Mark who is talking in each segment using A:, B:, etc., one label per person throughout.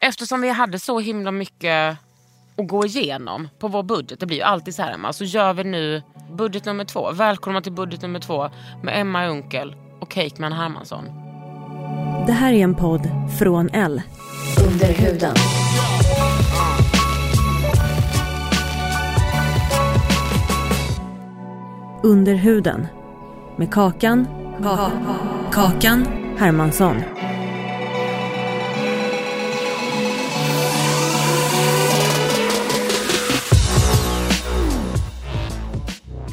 A: Eftersom vi hade så himla mycket att gå igenom på vår budget, det blir ju alltid så här Emma, så gör vi nu budget nummer två. Välkomna till budget nummer två med Emma Unkel och Cakeman Hermansson.
B: Det här är en podd från L.
C: Under huden.
B: Under huden. Med Kakan. Ka- kakan Hermansson.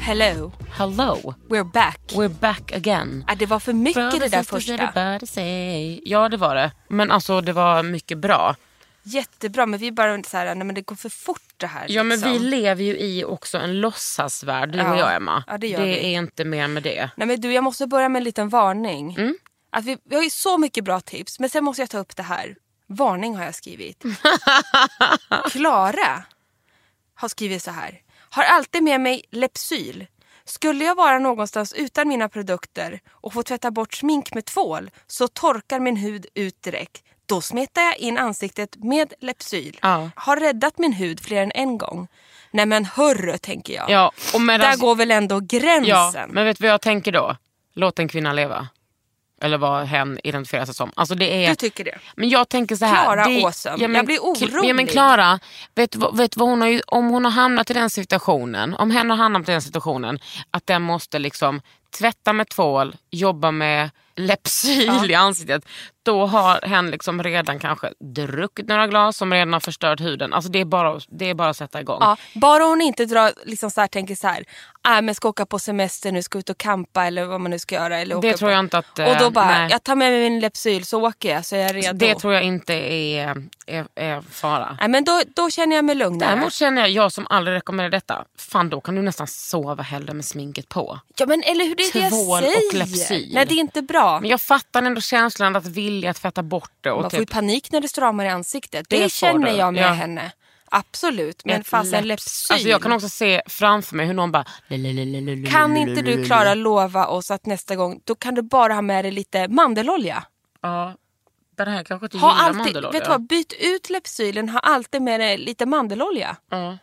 D: Hello,
A: Hello,
D: we're back.
A: we're back again.
D: Äh, det var för mycket det där första.
A: Everybody say. Ja det var det. Men alltså det var mycket bra.
D: Jättebra, men vi är bara så här, nej, men det går för fort det här.
A: Ja men
D: liksom.
A: vi lever ju i också en låtsasvärld du och
D: Ja.
A: jag Emma.
D: Ja, det gör vi.
A: är inte mer med det.
D: Nej, men du, jag måste börja med en liten varning.
A: Mm.
D: Att vi, vi har ju så mycket bra tips, men sen måste jag ta upp det här. Varning har jag skrivit. Klara har skrivit så här. Har alltid med mig Lepsyl. Skulle jag vara någonstans utan mina produkter och få tvätta bort smink med tvål så torkar min hud ut direkt. Då smetar jag in ansiktet med Lepsyl.
A: Ja.
D: Har räddat min hud fler än en gång. Nej men hörru, tänker jag.
A: Ja, och medan-
D: Där går väl ändå gränsen.
A: Ja, men vet du vad jag tänker då? Låt en kvinna leva. Eller vad hen identifierar sig som. Alltså det är...
D: Du tycker det?
A: Men jag tänker så här.
D: Klara
A: det,
D: Åsum. Jag blir
A: Ja, men
D: orolig.
A: Klara, vet, du vad- vet du vad hon har, ju- om hon har hamnat i den situationen, om hen har hamnat i den situationen att den måste liksom tvätta med tvål, jobba med Lepsyl i ansiktet. Då har hen liksom redan kanske druckit några glas som redan har förstört huden. Alltså det är bara, det är bara att sätta igång.
D: Ja, bara hon inte drar, liksom så här, tänker så här, äh, men ska åka på semester nu, ska ut och kampa eller vad man nu ska göra. Eller
A: Det
D: åka
A: tror
D: på.
A: jag inte att, eh,
D: Och då bara,
A: nej.
D: jag tar med mig min Lepsyl så åker jag så är jag redo.
A: Det tror jag inte är, är, är fara.
D: Nej, men då, då känner jag mig lugnare.
A: Däremot känner jag, jag som aldrig rekommenderar detta, fan då kan du nästan sova hellre med sminket på.
D: ja, men, eller hur det är det jag
A: Tvål och
D: säger.
A: Lepsyl.
D: Nej det är inte bra.
A: Men jag fattar ändå känslan att vilja tvätta bort det. Och
D: Man får ju
A: typ,
D: panik när det stramar i ansiktet.
A: Det
D: Det,
A: får
D: känner
A: du.
D: jag med
A: Ja.
D: henne. Absolut, men
A: ett
D: fasen
A: läpps-
D: Lepsyl.
A: Alltså jag kan också se framför mig hur någon bara...
D: Kan inte du Klara lova oss att nästa gång, då kan du bara ha med dig lite mandelolja.
A: Ja, den här kanske inte
D: Ha
A: gillar
D: alltid,
A: mandelolja.
D: vet du vad, byt ut Lepsylen, ha alltid med dig lite mandelolja.
A: Ja.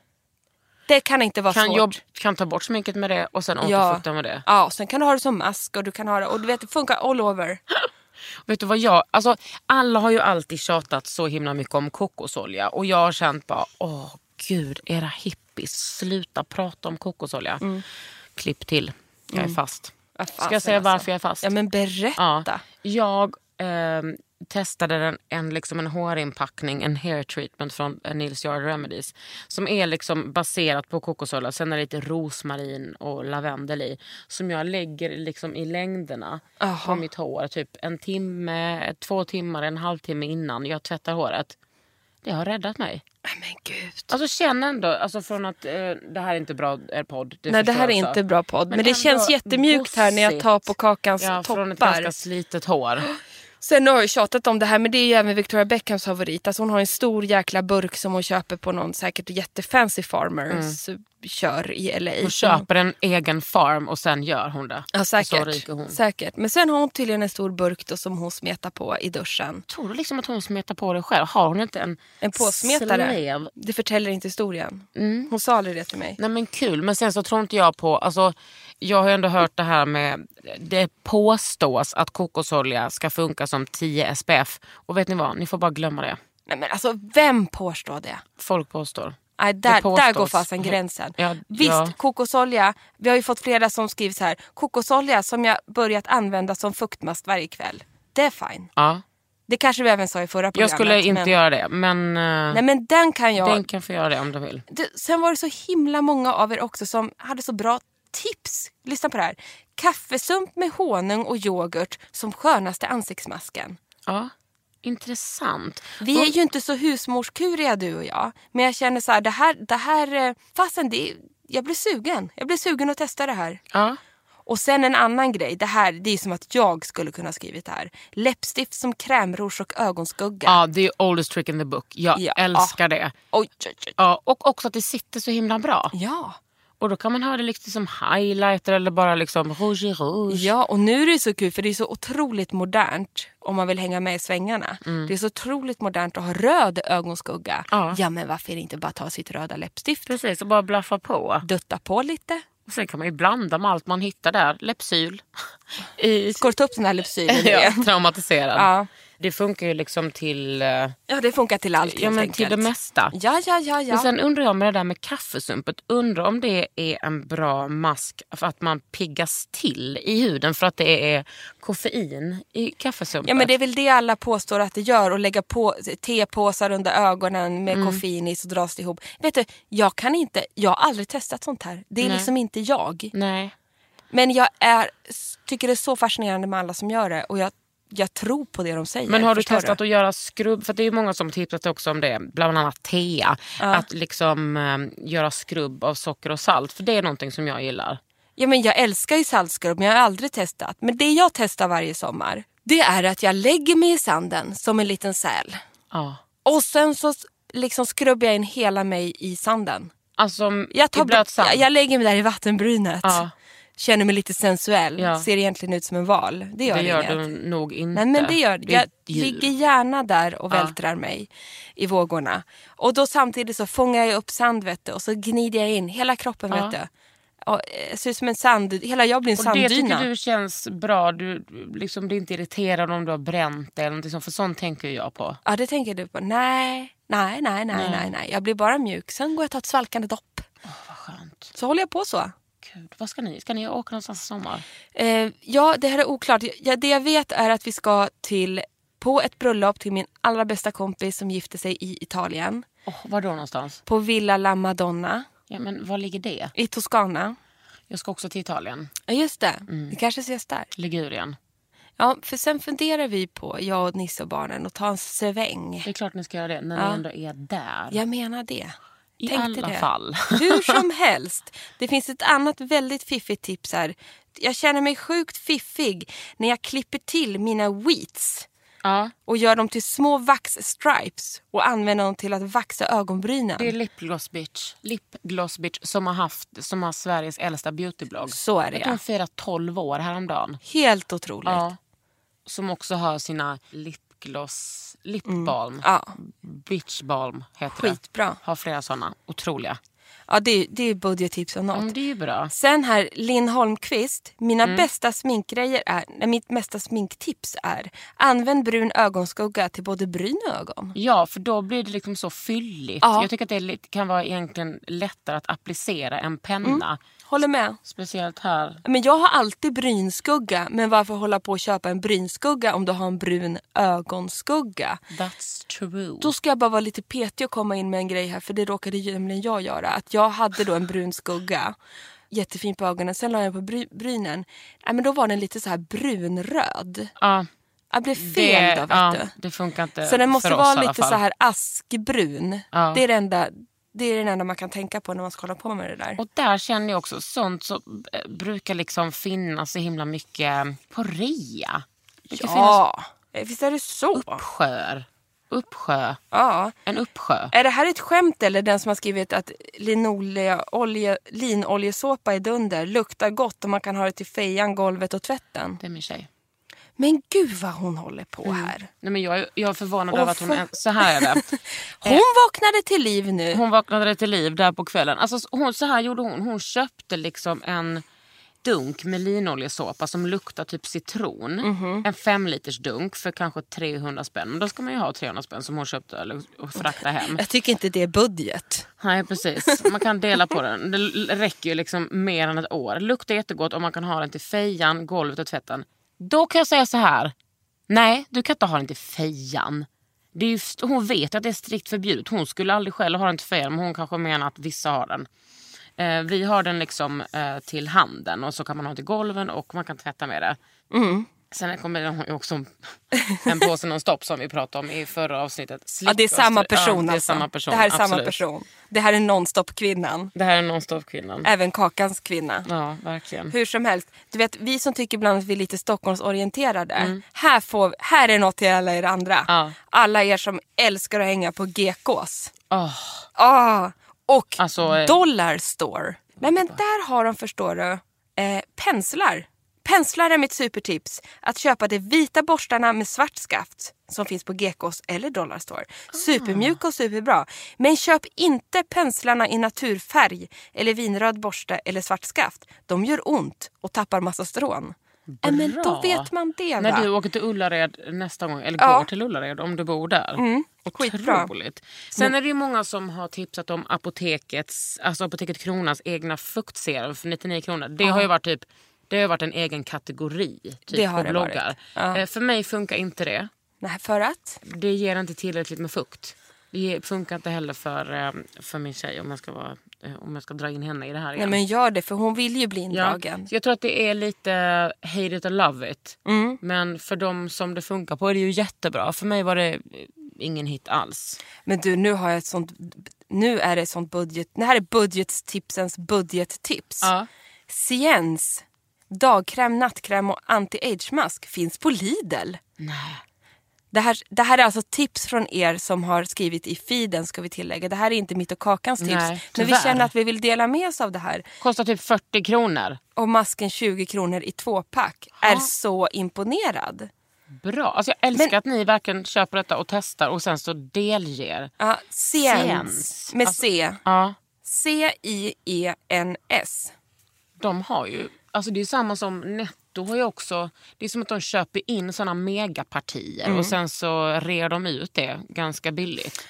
D: Det kan inte vara
A: Kan,
D: svårt.
A: jobb, kan ta bort sminket med det och sen återfukta med det.
D: Ja, sen kan du ha det som mask och du kan ha det, och du vet det funkar all over.
A: Vet du vad jag, alltså, alla har ju alltid tjatat så himla mycket om kokosolja och jag har känt bara, åh gud era hippies, sluta prata om kokosolja. Klipp till, jag är fast.
D: Vad
A: Ska
D: fasen
A: Mm. jag säga
D: alltså.
A: varför jag är fast?
D: Ja men berätta.
A: Jag ehm, testade en, en, liksom en hårinpackning, en hair treatment från eh, Nils Yard Remedies. Som är liksom baserat på kokosolja, sen är det lite rosmarin och lavendel i. Som jag lägger liksom i längderna på mitt hår. Typ en timme, två timmar, en halvtimme innan jag tvättar håret. Det har räddat mig.
D: Nej, Men gud.
A: Alltså känn ändå, alltså från att eh, det här är inte bra eh, podd. Det
D: Nej det
A: förstår
D: här är
A: jag också.
D: inte bra podd, men, det
A: ändå
D: känns jättemjukt här när jag
A: gosigt.
D: tar på kakans
A: ja, Från ett
D: toppar.
A: ganska slitet hår.
D: Sen har jag ju tjatat om det här, men det är ju även Victoria Beckhams favorit. Alltså hon har en stor jäkla burk som hon köper på någon säkert jättefancy farmers kör i LA.
A: Mm. Hon köper en egen farm och sen gör hon det.
D: Ja,
A: Så
D: säkert.
A: rik är hon.
D: säkert. Men sen har hon tydligen en stor burk då, som hon smetar på i duschen.
A: Tror du liksom att hon smetar på det själv? Har hon inte en,
D: En påsmetare.
A: slev?
D: Det förtäller inte historien.
A: Mm.
D: Hon sa aldrig det till mig.
A: Nej men kul, men sen så tror inte jag på, alltså, jag har ju ändå hört det här med, det påstås att kokosolja ska funka som 10 SPF och vet ni vad, ni får bara glömma det.
D: Nej, men alltså, vem påstår det?
A: Folk påstår.
D: Nej, där, där
A: påstås.
D: går fasen gränsen.
A: Ja,
D: Visst,
A: ja.
D: kokosolja. Vi har ju fått flera som skrivit så här. Kokosolja som jag börjat använda som fuktmast varje kväll. Det är fine.
A: Ja.
D: Det kanske vi även sa i förra
A: Jag
D: programmet.
A: skulle inte
D: men...
A: göra det, men eh,
D: Nej men den kan jag.
A: den kan få göra det om de vill.
D: Det, sen var det så himla många av er också som hade så bra tips. Lyssna på det här. Kaffesump med honung och yoghurt som skönaste ansiktsmasken.
A: Ja. Intressant.
D: Vi är ju inte så husmorskuriga du och jag. Men jag känner så här, det här, det här eh, fasen det, jag blir sugen. Jag blir sugen att testa det här.
A: Ja.
D: Och sen en annan grej, det här det är som att jag skulle kunna ha skrivit det här. Läppstift som krämrouge och ögonskugga.
A: ja, det är oldest trick in the book. Jag
D: Ja.
A: älskar det.
D: Oj, oj, oj.
A: Ja, och också att det sitter så himla bra.
D: Ja.
A: Och då kan man ha det liksom som highlighter eller bara liksom rouge i rouge.
D: Ja, och nu är det ju så kul för det är så otroligt modernt om man vill hänga med i svängarna. Det är så otroligt modernt att ha röd ögonskugga.
A: Mm. Ja.
D: ja, men varför inte bara ta sitt röda läppstift,
A: Precis, och bara blaffa på.
D: dutta på lite.
A: Och sen kan man ju blanda med allt man hittar där. Läppsyl. I,
D: Skål upp den här Lypsylen
A: ja,
D: igen.
A: traumatiserad.
D: Ja.
A: Det funkar ju liksom till, eh,
D: ja, det funkar till allt
A: ja,
D: helt
A: men till det
D: enkelt.
A: mesta.
D: Ja, ja, ja, ja.
A: Och sen undrar jag med det där med kaffesumpet. Undrar om det är en bra mask för att man piggas till i huden för att det är koffein i kaffesumpet.
D: Ja men det är väl det alla påstår att det gör och lägga på tepåsar under ögonen
A: Mm.
D: med koffein i så dras det ihop. Vet du, jag kan inte, jag har aldrig testat sånt här. Det är
A: Nej.
D: liksom inte jag.
A: Nej.
D: Men jag är, tycker det är så fascinerande med alla som gör det och jag, jag tror på det de säger.
A: Men har du
D: förstår
A: testat att göra skrubb? För det är ju många som tipsat också om det, bland annat Thea. Att liksom eh, göra skrubb av socker och salt. För det är någonting som jag gillar.
D: Ja men jag älskar ju saltskrubb men jag har aldrig testat. Men det jag testar varje sommar det är att jag lägger mig i sanden som en liten säl.
A: Ja.
D: Och sen så s- liksom skrubbar jag in hela mig i sanden.
A: Alltså
D: Jag, tar
A: i blöt
D: bort,
A: sand.
D: jag, jag lägger mig där i vattenbrynet.
A: Ja.
D: Känner mig lite sensuell.
A: Ja.
D: Ser egentligen ut som en val. Det gör,
A: det gör
D: inget.
A: du nog inte.
D: Nej, men det gör
A: är
D: Jag
A: ett djur.
D: ligger gärna där och
A: Ja.
D: vältrar mig i vågorna. Och då samtidigt så fångar jag upp sand vet du, och så gnider jag in hela kroppen.
A: Ja.
D: Vet du. Och, eh, ser ut som en sand, hela jag blir en
A: Och det
D: sanddyna.
A: tycker du känns bra? Du du liksom blir inte irriterad om du har bränt dig eller någonting sånt, för sånt tänker ju jag på.
D: Ja, det tänker du på. Nej, nej, nej, nej, nej, nej. Jag blir bara mjuk. Sen går jag och tar ett svalkande dopp.
A: Vad skönt.
D: Så håller jag på så.
A: Gud, vad ska ni? Ska ni åka någonstans i sommar?
D: Eh, ja, det här är oklart. Ja, det jag vet är att vi ska till på ett bröllop till min allra bästa kompis som gifte sig i Italien.
A: Oh, var då någonstans?
D: På Villa La Madonna
A: Ja, men var ligger det?
D: i Toscana.
A: Jag ska också till Italien.
D: Ja, just det. Vi kanske ses där.
A: Ligurien.
D: Ja, för sen funderar vi på, jag och Nisse och barnen, att ta en sväng.
A: Det är klart ni ska göra det när
D: Ja.
A: ni ändå är där.
D: Jag menar det.
A: I
D: tänkte
A: alla
D: det.
A: fall.
D: Hur som helst, det finns ett annat väldigt fiffigt tips här. Jag känner mig sjukt fiffig när jag klipper till mina wheats.
A: ja,
D: och gör dem till små vaxstripes och använder dem till att vaxa ögonbrynen.
A: det är Lipgloss Bitch. Lipgloss Bitch som har, haft, som har Sveriges äldsta beautyblogg.
D: Så är det,
A: Jag tror
D: ja.
A: hon firar 12 år häromdagen.
D: Helt otroligt.
A: Ja. Som också har sina lipgloss,
D: Mm.
A: lipbalm.
D: Ja.
A: Bitchbalm heter
D: Skitbra.
A: det. Har flera såna. Otroliga.
D: Ja, det, är- det är budgettips om något.
A: Mm, det är ju bra.
D: Sen här, Linn Holmqvist. Mina bästa sminkgrejer är, nej, mitt bästa sminktips är använd brun ögonskugga till både bryn och ögon.
A: Ja, för då blir det liksom så fylligt.
D: Ja.
A: Jag tycker att det är lite- kan vara egentligen lättare att applicera än penna.
D: Håller med.
A: Speciellt här.
D: Men jag har alltid brynskugga, men varför hålla på att köpa en brynskugga om du har en brun ögonskugga?
A: That's true.
D: Då ska jag bara vara lite petig och komma in med en grej här för det råkade ju nämligen jag göra. Att jag hade då en brun skugga. Jättefin på ögonen. Sen la jag den på bry- brynen. Nej, men då var den lite så här brunröd.
A: ja,
D: Jag blev
A: det,
D: fel då vet
A: ja,
D: du.
A: det funkar inte
D: Så den måste
A: för oss
D: vara
A: i alla
D: lite
A: fall.
D: så här askbrun.
A: Ja.
D: Det, är det, enda, det är den enda man kan tänka på när man ska hålla på med det där.
A: Och där känner jag också, sånt som eh, brukar liksom finnas så himla mycket på rea. Det brukar finnas
D: ja, visst är det så.
A: uppsjöar. uppsjö.
D: Ja.
A: En uppsjö.
D: Är det här ett skämt eller den som har skrivit att linolja- olje- linoljesåpa är dunder, luktar gott och man kan ha det till fejan, golvet och tvätten?
A: Det är min tjej.
D: Men gud vad hon håller på här.
A: Nej, men jag, är- jag är förvånad
D: Åh,
A: över att hon...
D: för-
A: är- Så här är det.
D: Hon vaknade till liv nu.
A: Hon vaknade till liv där på kvällen. Alltså, så- hon, så här gjorde hon. Hon köpte liksom en dunk med linoljesåpa som luktar typ citron. En femliters dunk för kanske 300 spänn. Men då ska man ju ha 300 spänn som hon köpte eller, och frakta hem.
D: Jag tycker inte det är budget.
A: Nej precis, man kan dela på den. Det l- räcker ju liksom mer än ett år. Luktar jättegott och man kan ha den till fejan, golvet och tvätten. Då kan jag säga så här. Nej, du kan inte ha den till fejan. Det är ju, st- hon vet att det är strikt förbjudet. Hon skulle aldrig själv ha den till fejan men hon kanske menar att vissa har den. Eh, vi har den liksom eh, till handen och så kan man ha den till golven och man kan tvätta med det.
D: Mm.
A: Sen kommer den har ju också en- en påse non-stop som vi pratade om i förra avsnittet.
D: Ja, det är samma
A: Slipper-
D: person
A: ja, det är
D: alltså.
A: samma person.
D: Det här är samma
A: absolut.
D: person. Det här är nonstop-kvinnan.
A: Det här är nonstop-kvinnan.
D: Även Kakans kvinna.
A: Ja, verkligen.
D: Hur som helst, du vet vi som tycker ibland att vi är lite Stockholmsorienterade. Här, får, här är något till alla er andra.
A: Ja.
D: Alla er som älskar att hänga på GKs.
A: Åh,
D: Ah, och
A: Alltså, eh,
D: dollar store. Nej men där har de förstår du, eh, penslar. Penslar är mitt supertips. Att köpa de vita borstarna med svart skaft som finns på Gekos eller Dollarstore.
A: Ah.
D: Supermjuka och superbra. Men köp inte penslarna i naturfärg eller vinröd borste eller svart skaft. De gör ont och tappar massa strån. Äh, men då
A: Bra.
D: vet man det va?
A: När du åker till Ullared nästa gång, eller
D: Ja. Mm,
A: går till Ullared om du bor där.
D: skitbra.
A: Otroligt. Sen är det ju många som har tipsat om apotekets, alltså apoteket Kronas egna fuktserum för 99 kronor. Det har ju varit typ det har ju varit en egen kategori typ,
D: Det har
A: på
D: det
A: bloggar.
D: varit. Ja.
A: Eh, För mig funkar inte det.
D: Nej, för att?
A: Det ger inte tillräckligt med fukt. Det ge- funkar inte heller för, eh, för min tjej om jag, ska vara, eh, om jag ska dra in henne i det här igen.
D: Nej men gör det för hon vill ju bli
A: Ja.
D: indragen.
A: Så jag tror att det är lite hate it or love it. Men för de som det funkar på är det ju jättebra. För mig var det eh, ingen hit alls.
D: Men du, nu har jag ett sånt... Nu är det ett sånt budget... Det här är budgettipsens budgettips.
A: Ja.
D: Science dagkräm, nattkräm och anti-age mask finns på Lidl.
A: Nej.
D: Det här, det här är alltså tips från er som har skrivit i feeden ska vi tillägga. Det här är inte mitt och Kakans tips.
A: Nej,
D: men vi
A: tyvärr.
D: känner att vi vill dela med oss av det här.
A: Kostar typ 40 kronor.
D: Och masken 20 kronor i tvåpack är så imponerad.
A: Bra. Alltså jag älskar att ni verkligen köper detta och testar och sen så delger.
D: Ja, Science.
A: Science.
D: Med
A: Alltså-
D: C. E
A: Ja,
D: C-I-E-N-S.
A: de har ju... Alltså det är ju samma som Netto har ju också... Det är som att de köper in såna megapartier och sen så rear de ut det ganska billigt.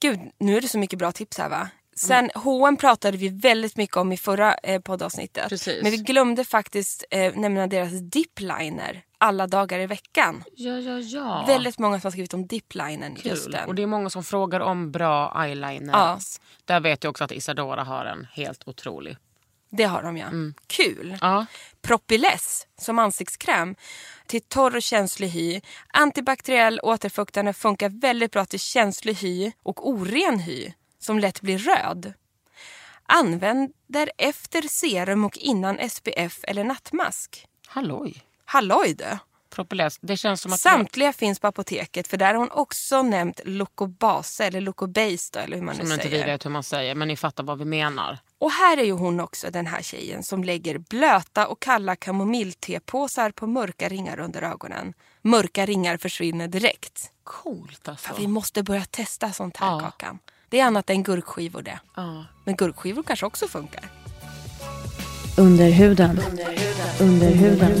D: Gud, nu är det så mycket bra tips här va? Sen H&M pratade vi väldigt mycket om i förra eh, poddavsnittet.
A: Precis.
D: Men vi glömde faktiskt eh, nämna deras dipliner alla dagar i veckan.
A: Ja, ja, ja.
D: Väldigt många som har skrivit om diplinern. Just
A: Kul.
D: den.
A: Och det är många som frågar om bra eyeliners.
D: Ja.
A: Där vet jag också att Isadora har en helt otrolig.
D: Det har de ja.
A: Mm.
D: Kul!
A: Ja.
D: Propyless som ansiktskräm till torr och känslig hy. Antibakteriell återfuktande funkar väldigt bra till känslig hy och oren hy som lätt blir röd. Använder efter serum och innan SPF eller nattmask.
A: Halloj.
D: Halloj du!
A: Propyless. Det känns som att...
D: Samtliga finns på apoteket för där har hon också nämnt Locobase eller Locobase då, eller hur man
A: Som
D: nu
A: inte vi
D: säger.
A: vet hur man säger, men ni fattar vad vi menar.
D: Och här är ju hon också den här tjejen som lägger blöta och kalla kamomilltepåsar på mörka ringar under ögonen. Mörka ringar försvinner direkt.
A: Coolt alltså.
D: Fan, vi måste börja testa sånt här
A: Ja.
D: Kakan. Det är annat än gurkskivor det.
A: Ja.
D: Men gurkskivor kanske också funkar.
B: Under huden. Under huden.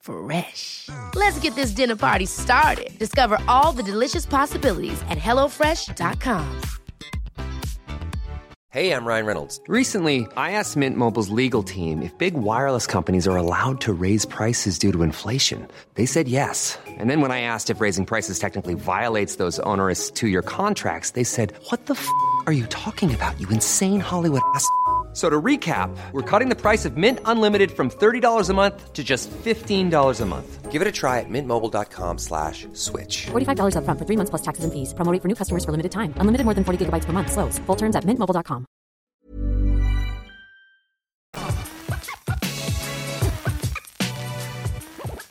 E: Fresh. Let's get this dinner party started. Discover all the delicious possibilities at hellofresh.com.
C: Hey, I'm Ryan Reynolds.
F: Recently, I asked Mint Mobile's legal team if big wireless companies are allowed to raise prices due to inflation. They said yes. And then when I asked if raising prices technically violates those onerous two year contracts, they said, What the f are you talking about, you insane Hollywood ass? f- So to recap, we're cutting the price of Mint Unlimited from $30 a month to just $15 a month.
C: Give it a try at mintmobile.com slash switch.
G: $45 upfront for three months plus taxes and fees. Promo rate for new customers for limited time. Unlimited more than 40 gigabytes per month. Slows. Full terms at mintmobile.com.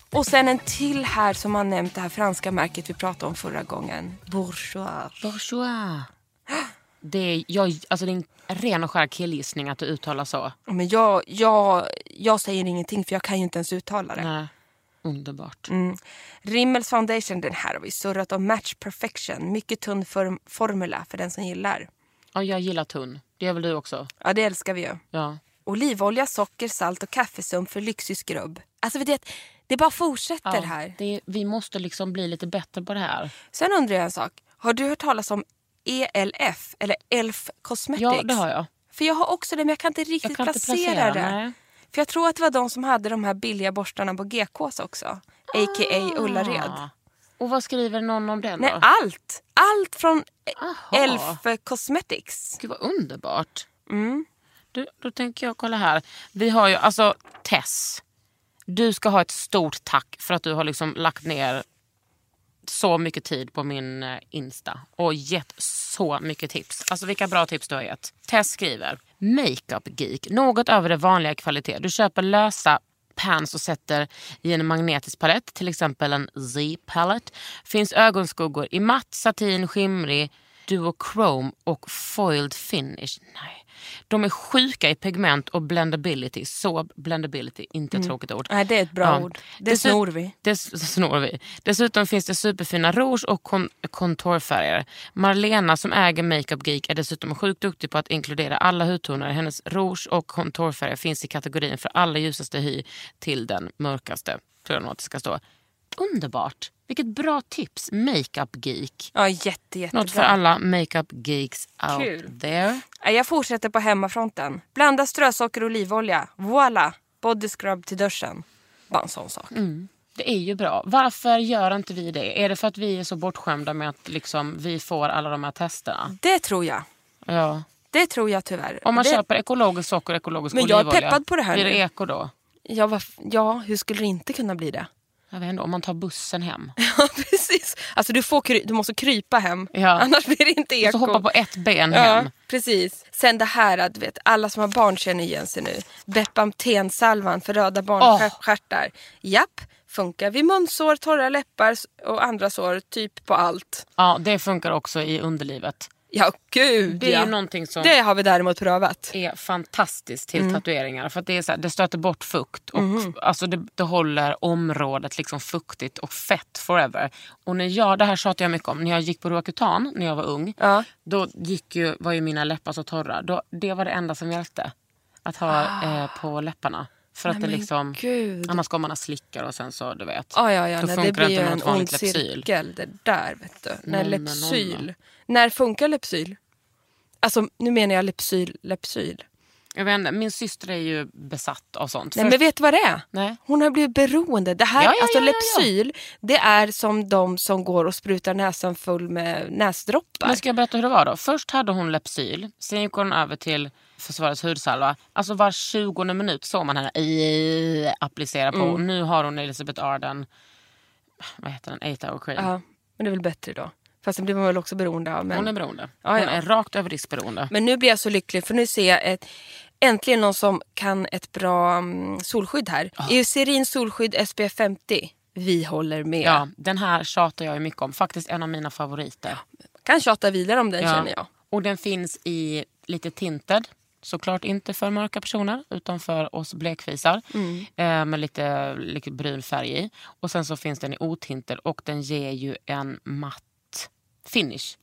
D: Och sen en till här som har nämnt det här franska märket vi pratade om förra gången. Bourgeois.
A: Bourgeois. Det är, jag, alltså det är en ren och skär killgissning att du uttalar så.
D: Men jag, jag, jag säger ingenting för jag kan ju inte ens uttala det.
A: Nej. Underbart.
D: Mm. Rimmels foundation, den här har vi surrat om. Match perfection. Mycket tunn form- formula för den som gillar.
A: Ja, jag gillar tunn. Det gör väl du också?
D: Ja, det älskar vi ju.
A: Ja.
D: Olivolja, socker, salt och kaffesump för lyxig skrubb. Alltså vet du, att det bara fortsätter
A: ja
D: här.
A: Det, vi måste liksom bli lite bättre på det här.
D: Sen undrar jag en sak. Har du hört talas om ELF eller ELF Cosmetics?
A: Ja, det har jag.
D: För jag har också det men jag kan inte riktigt
A: Jag kan
D: placera,
A: inte placera
D: det.
A: nej.
D: För jag tror att det var de som hade de här billiga borstarna på GKs också.
A: Ah.
D: A.k.a. Ullared.
A: Ja. Och vad skriver någon om den
D: Nej,
A: då?
D: allt! Allt från
A: Aha.
D: ELF Cosmetics.
A: Gud vad underbart. Du, då tänker jag kolla här. Vi har ju, alltså Tess. Du ska ha ett stort tack för att du har liksom lagt ner så mycket tid på min eh, Insta och gett så mycket tips. Alltså vilka bra tips du har gett. Tess skriver, makeup geek, något över det vanliga i kvalitet. Du köper lösa pans och sätter i en magnetisk palett, till exempel en Z-palette. Finns ögonskuggor i matt, satin, skimrig, duochrome och foiled finish. Nej. De är sjuka i pigment och blendability. Så blendability, inte ett tråkigt ord.
D: Mm. Nej, det är ett bra
A: Ja.
D: ord. Det
A: Dessut-
D: snor vi.
A: Det s- snor vi. Dessutom finns det superfina rouge och kon- kontorfärger. Marlena som äger Makeup Geek är dessutom sjukt duktig på att inkludera alla hudtoner. Hennes rouge och kontorfärger finns i kategorin för alla ljusaste hy till den mörkaste. Tror jag nog att det ska stå. Underbart! Vilket bra tips, Makeup Geek.
D: Ja, jätte, jättebra.
A: Något för alla makeup geeks out
D: Kul.
A: there.
D: Nej, Jag fortsätter på hemmafronten. Blanda strösocker och olivolja. Voila! Body scrub till duschen. Bara en sån sak.
A: Mm. Det är ju bra. Varför gör inte vi det? Är det för att vi är så bortskämda med att liksom, vi får alla de här testerna?
D: Det tror jag.
A: Ja.
D: Det tror jag tyvärr.
A: Om man
D: det,
A: köper ekologiskt socker och ekologisk
D: Men jag är
A: olivolja,
D: peppad på det här
A: Blir
D: nu.
A: det eko då?
D: ja, varf- ja, hur skulle det inte kunna bli det?
A: Jag vet inte, om man tar bussen hem.
D: Ja, precis. Alltså du, får kry- du måste krypa hem.
A: Ja.
D: Annars blir det inte eko.
A: Och så hoppa på ett ben hem.
D: Ja, precis. Sen det här att du vet, alla som har barn känner igen sig nu. Bepanthensalvan för röda barnstjärtar. Japp, funkar vid munsår, torra läppar s- och andra sår. Typ på allt.
A: Ja, det funkar också i underlivet.
D: Ja, gud
A: Det är
D: ja.
A: ju någonting som
D: Det har vi däremot prövat.
A: är fantastiskt till
D: Mm.
A: tatueringar. För att det, är så här, det stöter bort fukt och
D: Mhm.
A: alltså det, det håller området liksom fuktigt och fett forever. Och när jag, det här tjatar jag mycket om. När jag gick på Roakutan när jag var ung,
D: Ja.
A: då gick ju, var ju mina läppar så torra. Då, det var det enda som hjälpte. Att ha eh, på läpparna. För att det liksom,
D: Ah. gud.
A: annars går man och slickar och sen så du vet.
D: Ja, ja, ja.
A: Då
D: Nej,
A: funkar
D: det blir
A: inte
D: ju
A: med
D: en
A: något vanligt
D: ond
A: Lypsyl.
D: cirkel det där. Vet du. När
A: Nonna,
D: Lypsyl...
A: nonna.
D: När funkar Lypsyl? Alltså nu menar jag Lypsyl, Lypsyl.
A: Jag vet inte, min syster är ju besatt av sånt.
D: Nej
A: Först-
D: men vet du vad det är?
A: Nej.
D: Hon har blivit beroende. Det här,
A: Ja, ja,
D: alltså
A: ja, ja, ja.
D: Lypsyl, det är som de som går och sprutar näsan full med näsdroppar.
A: Men ska jag berätta hur det var då? Först hade hon Lypsyl, sen gick hon över till försvarets hudsalva. Alltså var 20 minut såg man henne i, applicera på.
D: Mm.
A: Nu har hon Elizabeth Arden, vad heter den, 8 hour cream.
D: Ja, men det är väl bättre då. Fast det blir man väl också beroende av. Men...
A: Hon är beroende.
D: Ja,
A: Hon
D: ja.
A: är rakt över riskberoende.
D: Men nu blir jag så lycklig för nu ser jag ett, äntligen någon som kan ett bra mm, solskydd här.
A: Ah.
D: Eucerin solskydd SPF 50. Vi håller med.
A: Ja, den här tjatar jag ju mycket om. Faktiskt en av mina favoriter.
D: Kan tjata vidare om den
A: Ja.
D: känner jag.
A: Och den finns i lite tinted. Såklart inte för mörka personer utan för oss blekfisar.
D: Mm.
A: Eh, med lite, lite brun färg i. Och sen så finns den i otinted och den ger ju en matt finish.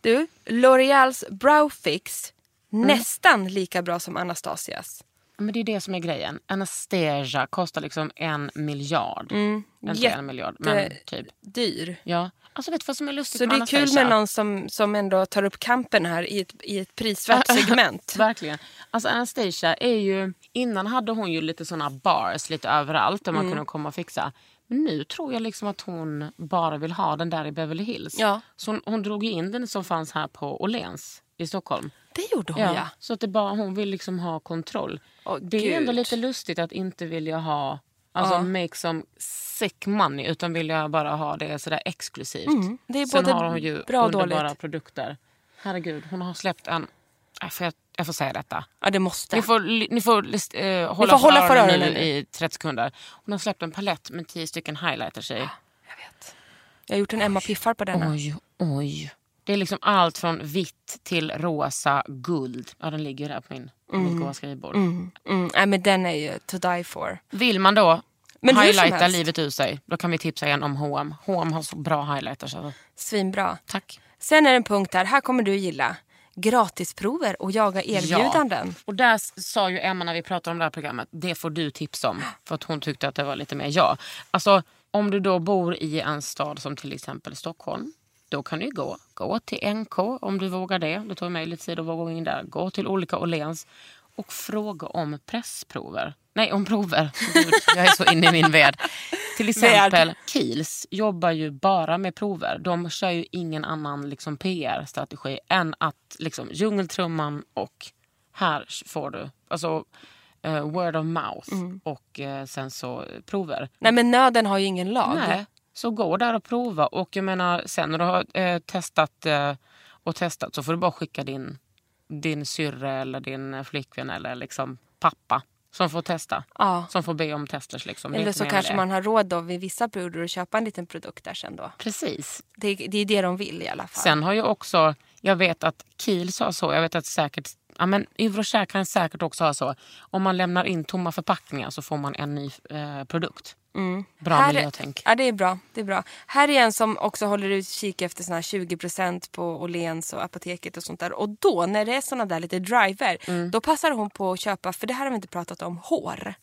D: Du,
A: Mm.
D: L'Oreals Brow Fix. Nästan lika bra som Anastasias.
A: Men det är det som är grejen. Anastasia kostar liksom en miljard.
D: Mm.
A: Inte en miljard, men typ.
D: Dyr.
A: Ja. Alltså vet du vad som är lustigt
D: Så det är kul
A: Anastasia?
D: med någon som, som ändå tar upp kampen här i ett, i ett prisvärt segment.
A: Verkligen. Alltså Anastasia är ju... Innan hade hon ju lite såna bars lite överallt där man kunde komma och fixa. Men nu tror jag liksom att hon bara vill ha den där i Beverly Hills.
D: Ja.
A: Så hon, hon drog ju in den som fanns här på Åhléns i Stockholm.
D: Det gjorde hon ja.
A: Så att det bara, hon vill liksom ha kontroll.
D: Åh,
A: det är ändå
D: Gud.
A: lite lustigt att inte vilja ha alltså make some sick money utan vill jag bara ha det sådär exklusivt.
D: Mm, det är
A: Sen
D: både
A: har hon ju
D: bra och dåligt.
A: underbara produkter. Herregud, hon har släppt en... Jag får, jag får säga detta.
D: Ja, det måste.
A: Ni får, li- ni får, list- eh, hålla,
D: får
A: för
D: hålla för
A: öronen
D: öronen
A: i, i 30 sekunder. Hon har släppt en palett med 10 stycken highlighters i.
D: Jag har gjort en Emma Piffar på denna.
A: Oj, oj. Det är liksom allt från vitt till rosa, guld. Ja, den ligger där på min, på mitt goa skrivbord.
D: Mm, nej, men den är ju to die for.
A: Vill man då
D: Men hur som
A: highlighta
D: helst.
A: livet ur sig, då kan vi tipsa igen om H&M. H&M har så bra highlighters. Alltså.
D: Svinbra.
A: Tack.
D: Sen är det en punkt där, här kommer du gilla. Gratisprover och jaga erbjudanden.
A: Ja. Och där s- sa ju Emma när vi pratade om det här programmet, det får du tips om. För att hon tyckte att det var lite mer jag. Alltså om du då bor i en stad som till exempel Stockholm. Då kan du ju gå. Gå till NK om du vågar det. Det tog mig lite tid att våga gå in där. Gå till olika Åhléns och fråga om pressprover. Nej, om prover. Gud, jag är så inne i min värld. Till exempel Kiehl's jobbar ju bara med prover. De kör ju ingen annan liksom, PR-strategi än att liksom, djungeltrumman och här får du alltså, eh, word of mouth
D: Mm.
A: och eh, sen så eh, prover.
D: Nej men nöden har ju ingen lag.
A: Nej, så gå där och prova. Och jag menar, sen när du har eh, testat eh, och testat så får du bara skicka din, din syrra eller din eh, flickvän eller liksom pappa som får testa.
D: Ja.
A: Som får be om testers. Liksom. Det är
D: Eller
A: inte
D: så
A: mer än
D: kanske
A: det.
D: man har råd då vid vissa prover att köpa en liten produkt där sen då.
A: Precis.
D: Det, det är det de vill i alla fall.
A: Sen har ju också, jag vet att Kiel sa så, jag vet att säkert Ja, men Eurocare kan säkert också ha så. Om man lämnar in tomma förpackningar så får man en ny eh, produkt. Bra
D: Här-
A: miljötänk.
D: Ja, det är bra. Det är bra. Här är en som också håller utkik efter såna här 20 på Åhléns och apoteket och sånt där. Och då, när det är såna där lite driver, då passar hon på att köpa, för det här har vi inte pratat om, hår.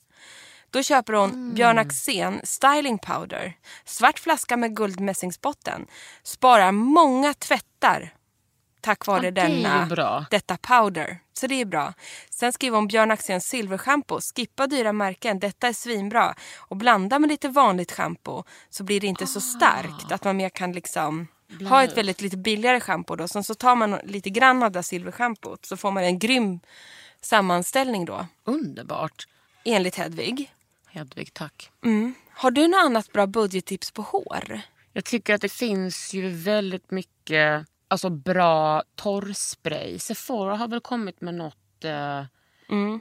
D: Då köper hon Björn Axén styling powder, svart flaska med guldmässingsbotten, sparar många tvättar tack vare
A: Ja, det är ju
D: denna,
A: bra.
D: detta powder. Så det är bra. Sen skriver hon Björn Axéns silverschampo. Skippa dyra märken, detta är svinbra. Och blanda med lite vanligt schampo så blir det inte så starkt. Att man mer kan liksom ha ett väldigt lite billigare schampo då. Sen så tar man lite grann av det här silverschampot så får man en grym sammanställning då.
A: Underbart.
D: Enligt Hedvig. Mm.
A: Hedvig, tack.
D: Har du något annat bra budgettips på hår?
A: Jag tycker att det finns ju väldigt mycket alltså bra torrspray. Sephora har väl kommit med något... Eh,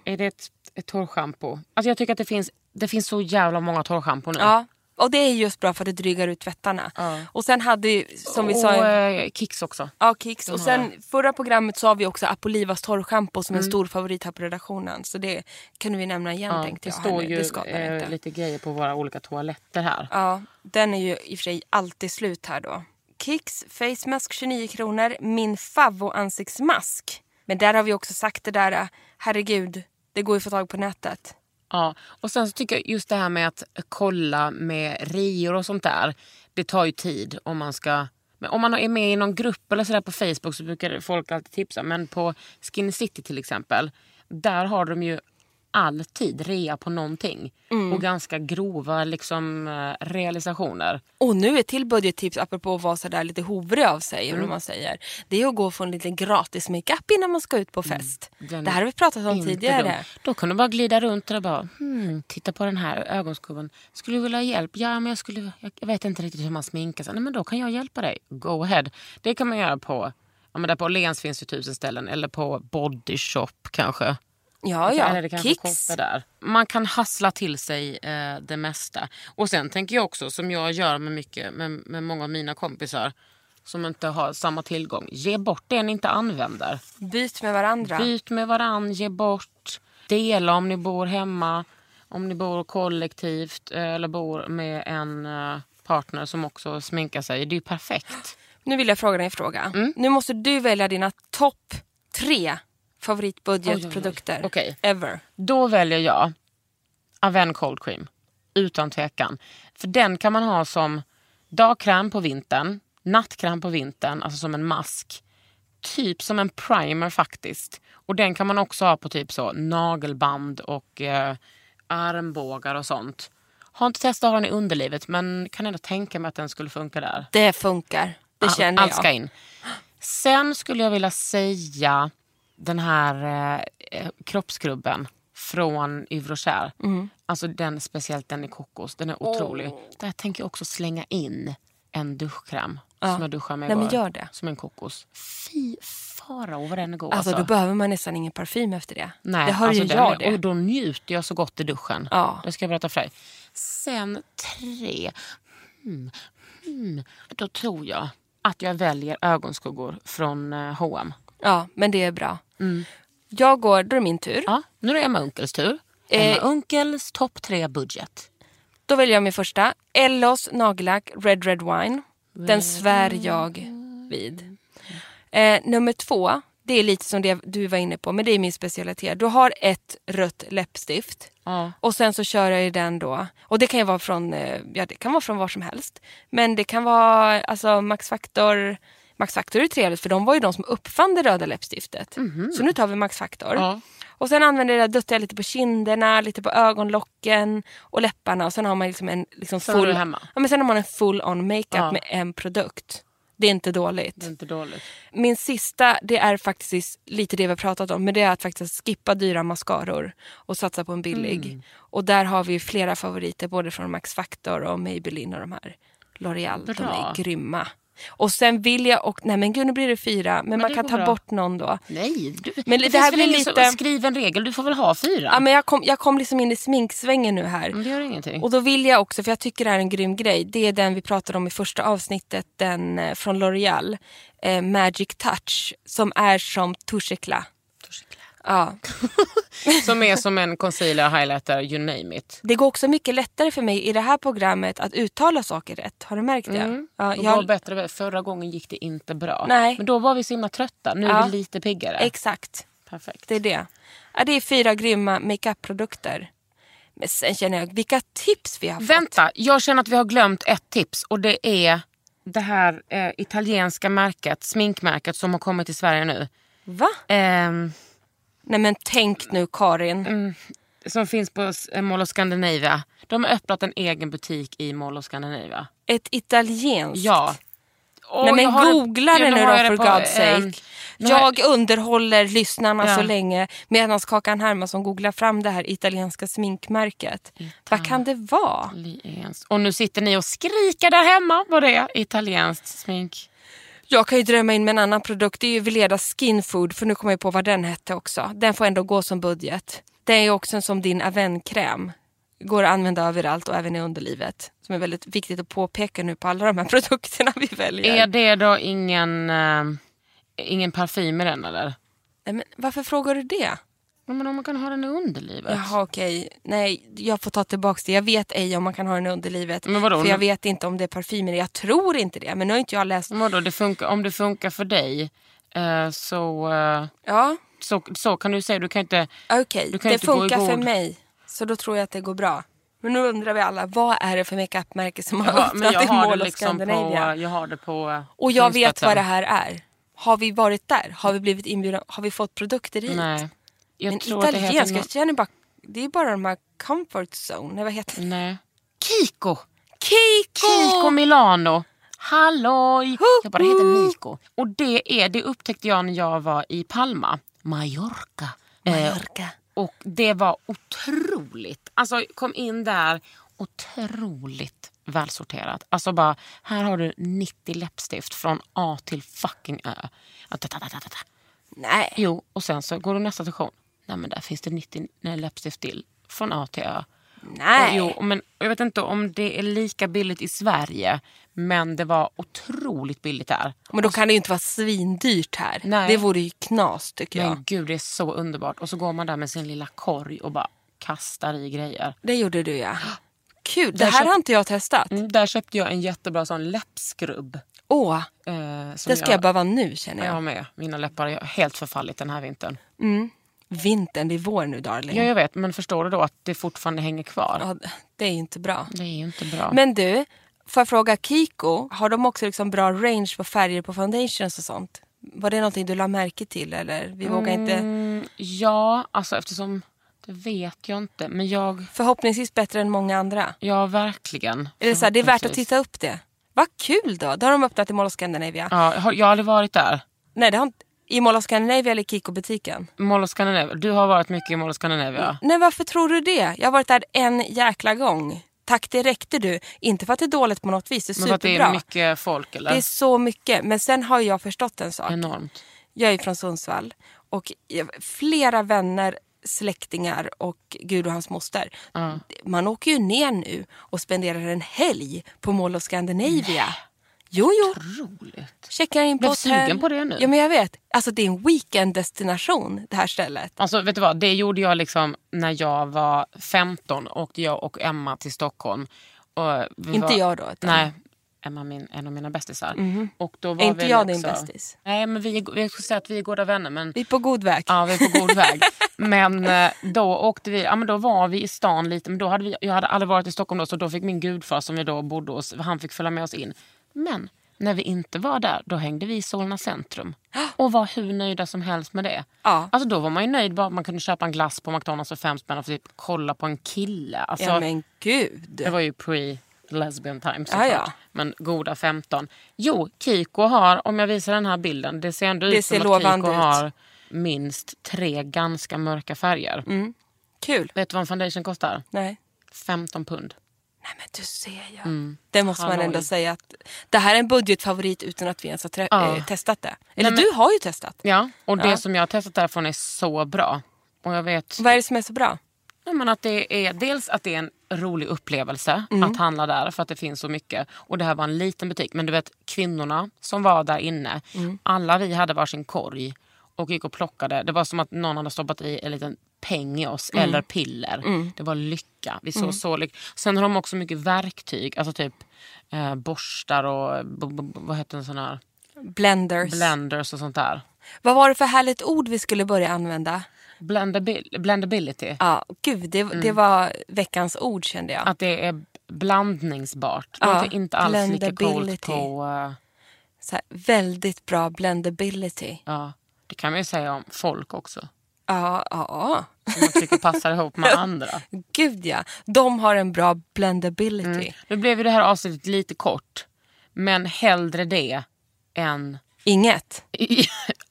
A: Är det ett, ett torrschampo? Alltså jag tycker att det finns, det finns så jävla många torrschampon nu.
D: Ja. Och det är just bra för det drygar ut tvättarna. Och sen hade ju, som vi sa...
A: Och eh, Kicks också.
D: Ja, Kicks. Och sen förra programmet sa vi också Apolivas torrschampo som en stor favorit här på redaktionen. Så det kan vi nämna igen
A: Mm. Ja,
D: tänkte
A: det
D: jag.
A: står
D: här nu.
A: ju
D: det skadar
A: eh,
D: inte.
A: lite grejer på våra olika toaletter här.
D: Ja, den är ju i och för sig alltid slut här då. Kicks Face Mask 29 kronor. Min favvo ansiktsmask. Men där har vi också sagt det där, eh, herregud, det går ju att få tag på nätet.
A: Ja, och sen så tycker jag just det här med att kolla med rior och sånt där. Det tar ju tid om man ska... Men om man är med i någon grupp eller sådär på Facebook så brukar folk alltid tipsa. Men på Skin City till exempel, där har de ju alltid rea på någonting.
D: Mm.
A: Och ganska grova liksom, eh, realisationer.
D: Och nu ett till budgettips apropå att vara sådär lite hovrig av sig.
A: Mm.
D: eller vad man säger. Det är att gå och få en liten gratis makeup innan man ska ut på fest.
A: Mm. Den
D: Det här har vi pratat om
A: Inte dum.
D: tidigare.
A: Då kan du bara glida runt där och bara hmm, titta på den här ögonskuggan. Skulle du vilja ha hjälp? Ja, men jag, skulle, jag vet inte riktigt hur man sminkar sig. Nej, men då kan jag hjälpa dig. Go ahead. Det kan man göra på Ja, men där på Åhléns finns ju tusen ställen. Eller på Body Shop kanske.
D: Ja,
A: Eller
D: ja.
A: det kanske
D: Kicks.
A: kostar där. Man kan hassla till sig eh, det mesta. Och sen tänker jag också, som jag gör med, mycket, med, med många av mina kompisar som inte har samma tillgång. Ge bort det ni inte använder.
D: Byt med varandra.
A: Byt med varann, ge bort, dela om ni bor hemma, om ni bor kollektivt eh, eller bor med en eh, partner som också sminkar sig. Det är ju perfekt. Mm.
D: Nu vill jag fråga dig en fråga. Nu måste du välja dina topp tre favoritbudgetprodukter
A: Okej.
D: ever.
A: Då väljer jag Aven Cold Cream. Utan tvekan. För den kan man ha som dagkräm på vintern, nattkräm på vintern, alltså som en mask. Typ som en primer faktiskt. Och den kan man också ha på typ så nagelband och eh, armbågar och sånt. Har inte testat att ha den i underlivet men kan ändå tänka mig att den skulle funka där.
D: Det funkar. Det
A: All-
D: känner
A: Allt ska
D: jag.
A: in. Sen skulle jag vilja säga den här eh, eh, kroppskrubben från Yves Rocher. Alltså den, speciellt den i kokos. Den är otrolig. Där tänker jag också slänga in en duschkräm som jag duschade med
D: Nej,
A: igår.
D: men gör det.
A: Som en kokos. Fy farao vad den är god.
D: Alltså,
A: Alltså,
D: då behöver man nästan ingen parfym efter det.
A: Nej,
D: det har
A: alltså
D: ju
A: den
D: jag
A: är- Och
D: det.
A: då njuter jag så gott i duschen.
D: Ja.
A: Det ska jag berätta för dig. Sen tre. Hmm. Hmm. Då tror jag att jag väljer ögonskuggor från eh, H&M.
D: Ja, men det är bra. Jag går, då är det min tur.
A: Mm. Ja, nu är det Emma Unkels tur.
D: Eh,
A: Emma Unkels topp tre budget.
D: Då väljer jag min första. Ellos nagellack Red Red Wine. Den svär jag vid. Eh, nummer två, det är lite som det du var inne på, men det är min specialitet. Du har ett rött läppstift.
A: Ja.
D: Och sen så kör jag ju den då. Och det kan ju vara från, eh, ja det kan vara från var som helst. Men det kan vara alltså Max Factor. Max Factor är trevligt för de var ju de som uppfann det röda läppstiftet. Så nu tar vi Max Factor.
A: Mhm. Ja.
D: Och sen använder jag det där duttar jag lite på kinderna, lite på ögonlocken och läpparna. Och sen har man liksom en liksom
A: Sen är
D: full...
A: du hemma.
D: Ja, men sen har man en full on makeup
A: Ja.
D: med en produkt. Det är inte dåligt.
A: Det är inte dåligt.
D: Min sista, det är faktiskt lite det vi har pratat om, men det är att faktiskt skippa dyra mascaror och satsa på en billig.
A: Mm.
D: Och där har vi ju flera favoriter, både från Max Factor och Maybelline och de här. L'Oreal, de
A: Bra.
D: är grymma. Och sen vill jag, och, nej men gud nu blir det fyra, men, man
A: det
D: kan
A: går
D: ta
A: bra.
D: bort någon då.
A: Nej, du,
D: Men
A: det,
D: det här
A: finns väl
D: blir
A: ingen som-
D: lite-
A: skriven regel. Du får väl ha fyra.
D: Ja, men jag, kom, jag kom liksom in i sminksvängen nu här.
A: men det gör ingenting.
D: Och då vill jag också, för jag tycker det här är en grym grej, det är den vi pratade om i första avsnittet, den eh, från L'Oreal, eh, Magic Touch, som är som tuschekla. Ja.
A: Som är som en concealer, highlighter, you name it.
D: Det går också mycket lättare för mig i det här programmet att uttala saker rätt. Har du märkt det? Ja,
A: Det
D: jag-
A: går Mm. bättre. Förra gången gick det inte bra.
D: Nej.
A: Men då var vi så himla trötta. Nu är
D: Ja.
A: vi lite piggare.
D: Exakt,
A: Perfekt.
D: det är det. Ja, det är fyra grymma makeup-produkter. Men sen känner jag, vilka tips vi har fått.
A: Vänta, jag känner att vi har glömt ett tips och det är det här eh, italienska märket, sminkmärket som har kommit till Sverige nu.
D: Va?
A: Ehm,
D: Nej men tänk nu Karin.
A: som finns på S- eh, Mall of Scandinavia. De har öppnat en egen butik i Mall of Scandinavia.
D: Ett italienskt.
A: Ja. Åh,
D: Nej
A: jag
D: men
A: har det-
D: googla det
A: Ja,
D: nu
A: har
D: då
A: jag
D: for
A: det på,
D: God's
A: ehm,
D: sake.
A: nu har
D: Jag underhåller lyssnarna
A: Ja.
D: så länge medan Kakan Hermansson googlar fram det här italienska sminkmärket. Vad kan det vara?
A: Italienskt. Och nu sitter ni och skriker där hemma vad det är. Italienskt smink.
D: Jag kan ju drömma in med en annan produkt, det är ju Vileda Skin Food för nu kommer jag på vad den hette också. Den får ändå gå som budget. Den är ju också en som din Aven-kräm. Går att använda överallt och även i underlivet. Som är väldigt viktigt att påpeka nu på alla de här produkterna vi väljer.
A: Är det då ingen, eh, ingen parfym i den eller?
D: Nej, men varför frågar du det?
A: Ja, Men om man kan ha den i underlivet.
D: Jaha okej, nej jag får ta tillbaka det. Jag vet ej om man kan ha den i underlivet.
A: Men vadå?
D: För jag vet inte om det är parfymer jag tror inte det. Men nu har inte jag läst.
A: Men Vadå, det funkar, om det funkar för dig eh, så, eh,
D: Ja
A: så, så kan du säga. Du kan inte...
D: okej,
A: Du kan
D: det
A: inte gå i
D: funkar för
A: god.
D: mig. Så då tror jag att det går bra. Men nu undrar vi alla, vad är det för makeupmärke som har
A: Ja, men
D: öppnat
A: jag
D: i
A: har,
D: Mall
A: det
D: of
A: liksom på,
D: Scandinavia?
A: jag har det på... eh,
D: Och jag vet
A: Instagram.
D: vad det här är. Har vi varit där? Har vi blivit inbjudna? Har vi fått produkter hit?
A: Nej. Jag
D: men
A: tror att det heter...
D: italienska, jag känner bara, det är bara de här comfort zone. Nej, vad heter det?
A: nå- Nej. Kiko!
D: Kiko!
A: Kiko Milano. Halloj!
D: Ho,
A: Jag bara, det heter
D: ho.
A: Miko. Och det, är, det upptäckte jag när jag var i Palma, Mallorca. Eh,
D: Mallorca.
A: och det var otroligt. Alltså kom in där, otroligt välsorterat. Alltså bara, här har du 90 läppstift från A till fucking Ö. Ja, ta, ta, ta, ta, ta.
D: Nej.
A: Jo, och sen så går du nästa station. Nej men där finns det 90 läppstift till från A till Ö.
D: Nej.
A: Jo, men jag vet inte om det är lika billigt i Sverige, men det var otroligt billigt där.
D: Men då kan det ju inte vara svindyrt här.
A: Nej.
D: Det vore ju knas tycker jag.
A: Men gud, det är så underbart. Och så går man där med sin lilla korg och bara kastar i grejer.
D: Det gjorde du ja. Kul, det
A: Där Mm.
D: här
A: köpt-
D: har inte jag testat.
A: Mm, där köpte jag en jättebra sån läppskrubb.
D: Åh,
A: Eh, som
D: det ska jag behöva nu känner
A: Jag
D: jag.
A: med. Mina läppar har helt förfallit den här vintern.
D: Mm. Vintern, det är vår nu darling.
A: Ja, jag vet. Men förstår du då att det fortfarande hänger kvar?
D: Ja, det är ju inte bra.
A: Det är ju inte bra.
D: Men du, får jag fråga Kiko, har de också liksom bra range på färger på foundations och sånt? Var det någonting du la märke till eller? Vi vågar inte.
A: Mm, ja, alltså eftersom... Det vet jag inte. Men jag...
D: Förhoppningsvis bättre än många andra.
A: Ja, verkligen.
D: Är det, så här, det är värt att
A: Precis.
D: titta upp det. Vad kul då! Då har de öppnat i Mall of Scandinavia.
A: Ja, jag har- jag har aldrig varit där.
D: Nej, det har inte... I Mall of Scandinavia eller Kiko-butiken?
A: Mall of Scandinavia. Du har varit mycket i Mall of Scandinavia.
D: Nej, varför tror du det? Jag har varit där en jäkla gång. Tack, det räckte du. Inte för att det är dåligt på något vis, det är
A: Men för
D: superbra.
A: att det är mycket folk eller?
D: det är så mycket. Men sen har jag förstått en sak.
A: Enormt.
D: Jag är från Sundsvall och jag- flera vänner, släktingar och gud och hans moster. Man åker ju ner nu och spenderar en helg på Mall of Scandinavia. Jo, jo.
A: Roligt.
D: Checkar in på
A: Blev
D: hotell.
A: sugen på det nu.
D: Ja, men jag vet. Alltså det är en weekenddestination det här stället.
A: Alltså vet du vad, det gjorde jag liksom när jag var 15 åkte jag och Emma till Stockholm. Och vi
D: Inte
A: var,
D: jag då. utan- Mhm.
A: Nej, Emma min, en av mina bästisar. Och då var
D: Är inte
A: vi
D: jag din
A: också-
D: bästis?
A: Nej men vi, är go- jag skulle säga att vi är goda vänner men
D: Vi är på god väg.
A: Ja, vi är på god väg. Men eh, då åkte vi, ja men då var vi i stan lite, men då hade vi, jag hade aldrig varit i Stockholm då så då fick min gudfar som vi då bodde hos, han fick följa med oss in. Men när vi inte var där, då hängde vi i Solna centrum. Och var hur nöjda som helst med det.
D: Ja.
A: Alltså då var man ju nöjd bara att man kunde köpa en glass på McDonalds för fem spänn och typ kolla på en kille. Alltså,
D: ja, men gud.
A: det var ju pre lesbian time
D: Ja,
A: såklart.
D: ja.
A: Men goda 15. Jo, Kiko har, om jag visar den här bilden, det ser ändå
D: Det
A: ut
D: ser
A: som att
D: lovande
A: Kiko
D: ut.
A: har minst tre ganska mörka färger.
D: Mm. Kul.
A: Vet du vad en foundation kostar?
D: Nej.
A: 15 pund.
D: Nej men du ser ju.
A: Mm.
D: Det måste man
A: Halloj.
D: ändå säga att det här är en budgetfavorit utan att vi ens har trä-
A: Ja.
D: eh, testat det. Eller
A: Nej, men-
D: du har ju testat.
A: Ja, och det
D: Ja.
A: som jag har testat därifrån är så bra. Och jag vet
D: Vad är det som är så bra?
A: Nej, men att det är, dels att det är en rolig upplevelse att handla där för att det finns så mycket. Och det här var en liten butik. Men du vet kvinnorna som var där inne. Alla vi hade varsin korg och gick och plockade. Det var som att någon hade stoppat i en liten peng i oss eller piller. Det var lycka. Vi såg så lyck- Sen har de också mycket verktyg. Alltså typ eh, borstar och b- b- b- vad heter en sån här?
D: Blenders.
A: Blenders och sånt där.
D: Vad var det för härligt ord vi skulle börja använda?
A: Blendabil- blendability.
D: Ja, gud, det,
A: Mm.
D: det var veckans ord kände jag.
A: Att det är blandningsbart.
D: Ja,
A: Ja, det är inte alls lika coolt
D: blendability.
A: på... eh,
D: Så här, väldigt bra blendability.
A: ja, det kan man ju säga om folk också.
D: Ja, ja.
A: Som man tycker passar ihop med andra.
D: Gud ja. De har en bra blendability.
A: Nu blev ju det här avsnittet lite kort. Men hellre det än...
D: Inget.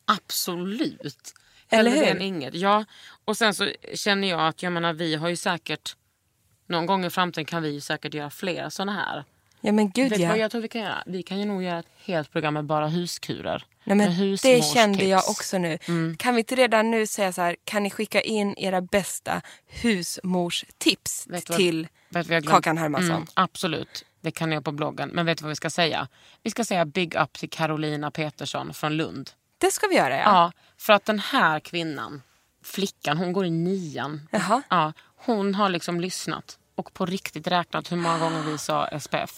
A: Absolut.
D: Eller
A: Hellre det
D: hur?
A: än inget. Ja, och sen så känner jag att jag menar, vi har ju säkert... Någon gång i framtiden kan vi ju säkert göra fler såna här.
D: Ja men gud
A: Vet du
D: ja.
A: vad jag tror vi kan göra? Vi kan ju nog göra ett helt program med bara huskurer.
D: Nej,
A: Med
D: men det
A: husmorstips.
D: kände jag också nu.
A: Mm.
D: Kan vi inte redan nu säga så här, kan ni skicka in era bästa husmorstips
A: Vet du vad-
D: till
A: Vet du vad jag glömde?
D: Kakan Hermansson?
A: Mm, absolut, det kan jag på bloggen. Men vet du vad vi ska säga? Vi ska säga big up till Carolina Petersson från Lund.
D: Det ska vi göra ja.
A: Ja. för att den här kvinnan, flickan, hon går i nian.
D: Jaha.
A: Ja, hon har liksom lyssnat och på riktigt räknat hur många gånger vi sa SPF.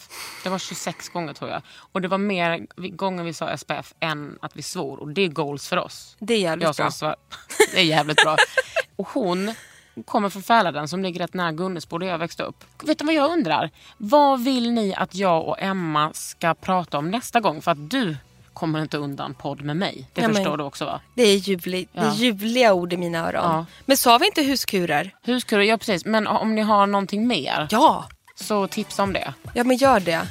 A: Det var 26 gånger tror jag. Och det var mer gånger vi sa SPF än att vi svor. Och det är goals för oss.
D: Det är jävligt
A: Jag som
D: bra.
A: svar- Det är jävligt bra. Och hon kommer från Fäladen som ligger rätt nära Gunnesbo där jag växte upp. Vet du vad jag undrar? Vad vill ni att jag och Emma ska prata om nästa gång? För att du kommer inte undan podd med mig. Det
D: Ja, men-
A: förstår du också va?
D: Det är, jubli, det är
A: Ja.
D: ljuvliga ord i mina öron.
A: Ja.
D: Men sa vi inte huskurer?
A: Huskurer, ja precis. Men om ni har någonting mer
D: Ja.
A: så tipsa om det.
D: Ja men gör det.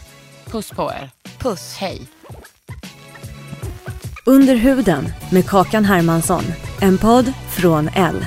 A: Puss på er.
D: Puss.
A: Hej.
B: Under huden med Kakan Hermansson. En podd från L.